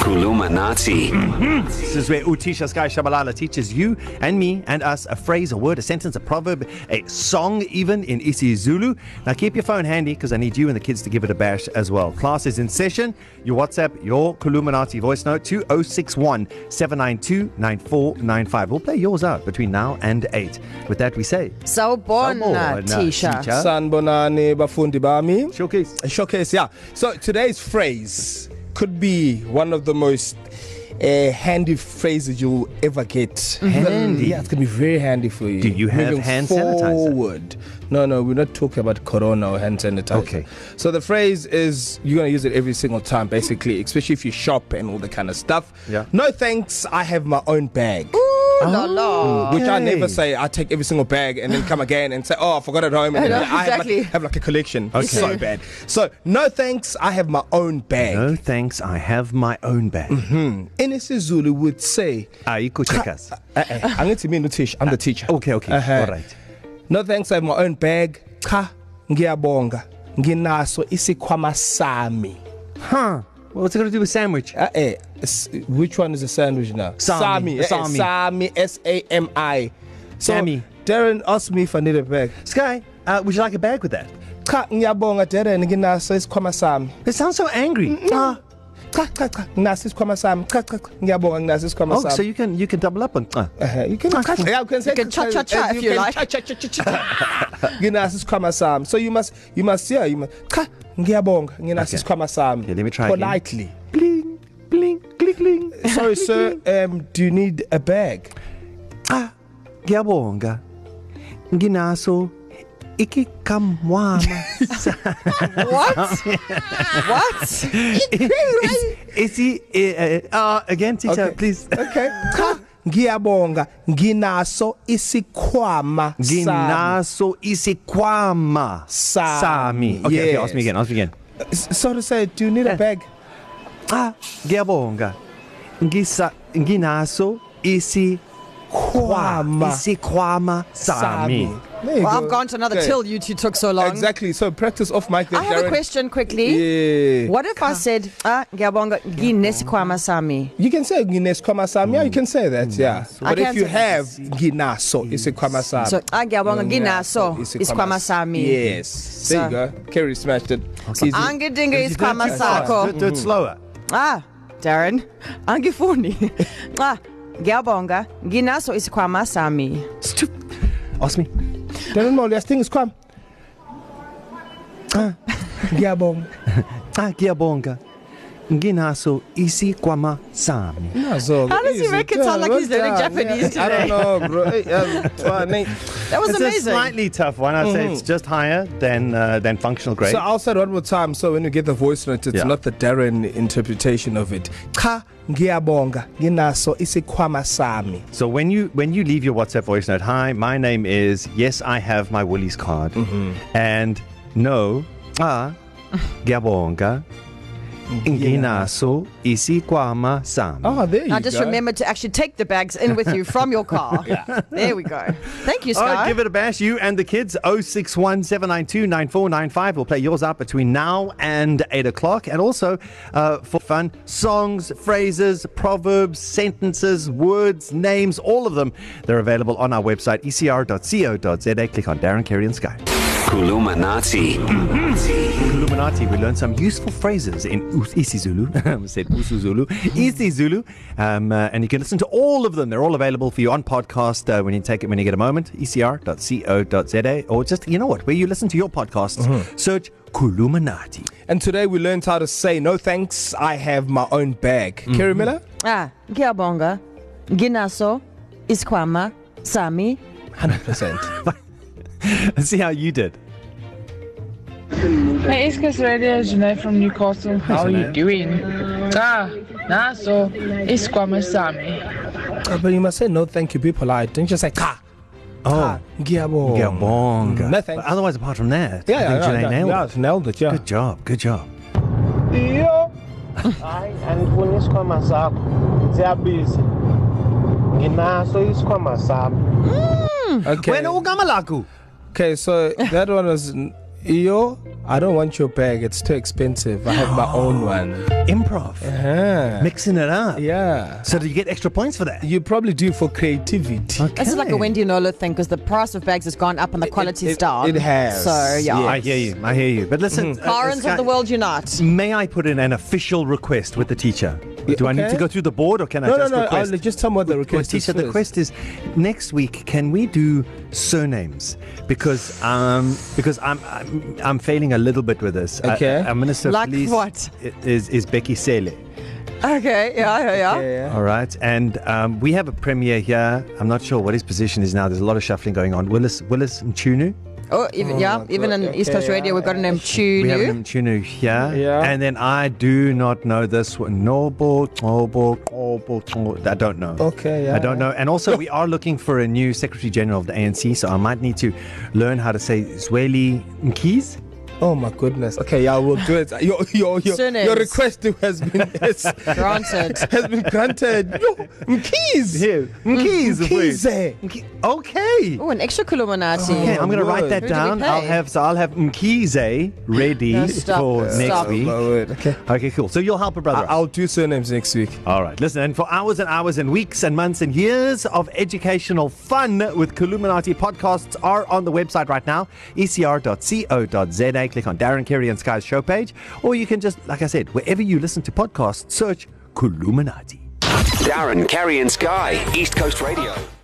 Kulumanati. This is where Utisha Sky Shabalala teaches you and me and us a phrase, a word, a sentence, a proverb, a song, even in isiZulu. Now keep your phone handy because I need you and the kids to give it a bash as well. Class is in session. Your WhatsApp, your Kuluminati voice note oh to 061 792 9495. We'll play yours out between now and 8. With that, we say, Sawubona uh, Tisha. uh, Tisha. Sanbonani bafundi bami. Showcase. A showcase, yeah. So today's phrase could be one of the most uh, handy phrases you'll ever get. Handy? Yeah, it's gonna be very handy for you. Mm-hmm. Do you have hand sanitizer? forward. No, no, we're not talking about corona or hand sanitizer. Okay. So the phrase is you're gonna use it every single time, basically, especially if you shop and all that kind of stuff. Yeah. No thanks, I have my own bag. Ooh. La Oh. la. Which I never Okay. say. I take every single bag and then come again and say, "Oh, I forgot at home." And I know, then I have, exactly. like, have like a collection. Okay. It's Okay. Uh-huh. so bad. So no thanks. I have my own bag. No. No thanks, I have my own bag. Mm-hmm. Ah, In isiZulu would say, Ayikuchekas. uh-uh, "I'm going to mean Tish. I'm the teacher." Uh-uh. Okay, okay. Uh-huh. All right. No thanks. I have my own bag. Cha ngiyabonga. Nginaso isikhwama sami. Huh. Well, what's it got to do with sandwich? Uh, eh, s- which one is a sandwich now? Sami, Sami. Sami. Sami. Sami. S A M I. So, Sami. Darren asked me if I need a bag. Sky, uh, would you like a bag with that? Cha ngiyabonga Darren nginaso isikhwama sami. It sounds so angry. Ah, cha cha cha cha nasi isikhwama sami cha cha cha ngiyabonga nasi isikhwama Oh, sami so you can you can double up on. Uh. Uh-huh. you can cha yeah, you can say You can cha- cha- cha and if you can like. cha- cha- cha- cha- cha. nginasi isikhwama sami so you must you must yeah you must cha ngiyabonga Okay. nginasi isikhwama sami Okay, let me try again. politely Bling, bling, gling, gling. sorry sir um do you need a bag Ah, ngiyabonga. Nginaso ikikamwana. What? what? Isi eh, eh, uh again teacher okay. Okay. please. okay cha ngiyabonga nginaso isikhwama sami. Nginaso isikwama Sami. sami. Okay, yes. okay, Yes. ask me again. Ask me again. S- sorry sir do you need a bag Ah, ngiyabonga. Ngisa nginaso isi khwama isikwama sami. There you Well, I've go. gone to another Okay. till you two took so long. Exactly. So practice off mic. There, I have Darren. a question quickly. Yeah. What if I said, ah, ngiyabonga nginesikhwama sami? You can say Guinness Kwamasam. Yeah, you can say that. Yeah. I But if can you say that. have Ginaso, it's a Mm, Kwamasam. So, ah, ngiyabonga nginaso isikhwama sami. Yes. There So- you go. Kerry smashed it. Easy. Angidinga isikhwama Do, sakho. Mm-hmm. it- do it slower. Ah, Darren, angifuni. Ah, ngiyabonga nginaso isikhwama sami. Stup. Ask me. Darren Mole, I think it's Kwam. Ah. Ngiyabonga. Cha Ah, ngiyabonga. Nginaso isikwama sami. Nazo. How does he easy. make it sound like well he's learning done. Japanese Yeah. I today? don't know, bro. Hey, um, twane. That was It's a amazing. slightly tough one. I'd mm-hmm. say it's just higher than uh, than functional grade. So I'll say it one more time. So when you get the voice note, it's Yeah. yeah. not the Darren interpretation of it. Cha ngiyabonga nginaso isikhwama sami. So when you when you leave your WhatsApp voice note, hi, my name is yes, I have my Woolies card, mm-hmm. and no, ah, ngiyabonga. Nginaso isikwama sami. Oh, there you Now go. just remember to actually take the bags in with you from your car. yeah. There we go. Thank you, All Sky. right, give it a bash. You and the kids, 061 792 9495. We'll play yours out between now and 8 o'clock. And also, uh, for fun, songs, phrases, proverbs, sentences, words, names, all of them. They're available on our website, E ecr.co.za. Click on Darren, Kerry, and Sky. Kulumanati. Illuminati, we learned some useful phrases in Us- isiZulu. we said usiZulu, isiZulu, um, uh, and you can listen to all of them. They're all available for you on podcast uh, when you take it when you get a moment. E ecr.co.za or just you know what, where you listen to your podcasts, mm-hmm. search Kuluminati. And today we learned how to say no thanks, I have my own bag. Mm-hmm. Kerry Miller? Ah, ngiyabonga. Nginaso isikhwama sami. 100%. See how you did. Hey, East Coast Radio, Janae from Newcastle. How are you doing? Ah, naso, isikhwama sami. Uh, but you must say no thank you, be polite. Don't just say ka. Oh, Ngiyabonga. Gabonga. Mm. No thanks. But otherwise, apart from that, I Yeah, think Janae yeah, yeah, yeah, nailed yeah, it. nailed it, yeah. Good job. Good job. Yo. Hayi andifuni isikhwama sakho. Siyabiza. Nginaso isikhwama sami. Okay. Wena ugamalaku. okay, so that one was n- iyo I don't want your bag. It's too expensive. I have my own one. Improv. Yeah. Mixing it up. Uh-huh. yeah. So do you get extra points for that? You probably do for creativity. This is like a Okay. Wendy Nola thing because the price of bags has gone up and the quality's it- down. it has, So, yeah. yeah. I hear you. I hear you. But listen, Mm-hmm. uh, Barons Sky- of the world unite. May I put in an official request with the teacher? Do I need okay. to go through the board or can I No, no, just no. I'll request? just tell me what the Well, request is. teacher, the first. request is next week. Can we do surnames? Because um because I'm I'm, I'm failing a little bit with this. Okay. I, I'm Minister Like Police what? i- Is is Becky Sele. Okay, yeah, yeah, yeah. Yeah, yeah. All right, and um, we have a premier here. I'm not sure what his position is now. There's a lot of shuffling going on. Willis Willis Mchunu. Oh, even, yeah, my even God, in East okay, Coast Radio, yeah, we've got an We have Mchunu. an Mchunu here. Yeah. And then I do not know this one. Noble, noble, noble, noble. I don't know. Okay, yeah. I don't know. And also, we are looking for a new Secretary General of the ANC, so I might need to learn how to say Zweli Mkiz. Oh my goodness. Okay, yeah, we'll do it. Your your your, Surnames. your request has been has, Granted. has been granted. Yo, Mkeez. Mkiz. Mkize. Mki- Okay. Oh, an extra Kulumanati. Oh, Okay, I'm going to write word. that Who do we down. I'll pay? have so I'll have Mkize ready No, stop, for next stop. week. Oh, word. Okay. Okay, cool. So you'll help a brother. I- out. I'll do surnames next week. All right, listen, and for hours and hours and weeks and months and years of educational fun with Columinati podcasts are on the website right now, E ecr.co.za. Click on Darren Kerry and Sky's show page, or you can just, like I said, wherever you listen to podcasts, search Columinati. Darren, Carrie, and Sky, East Coast Radio.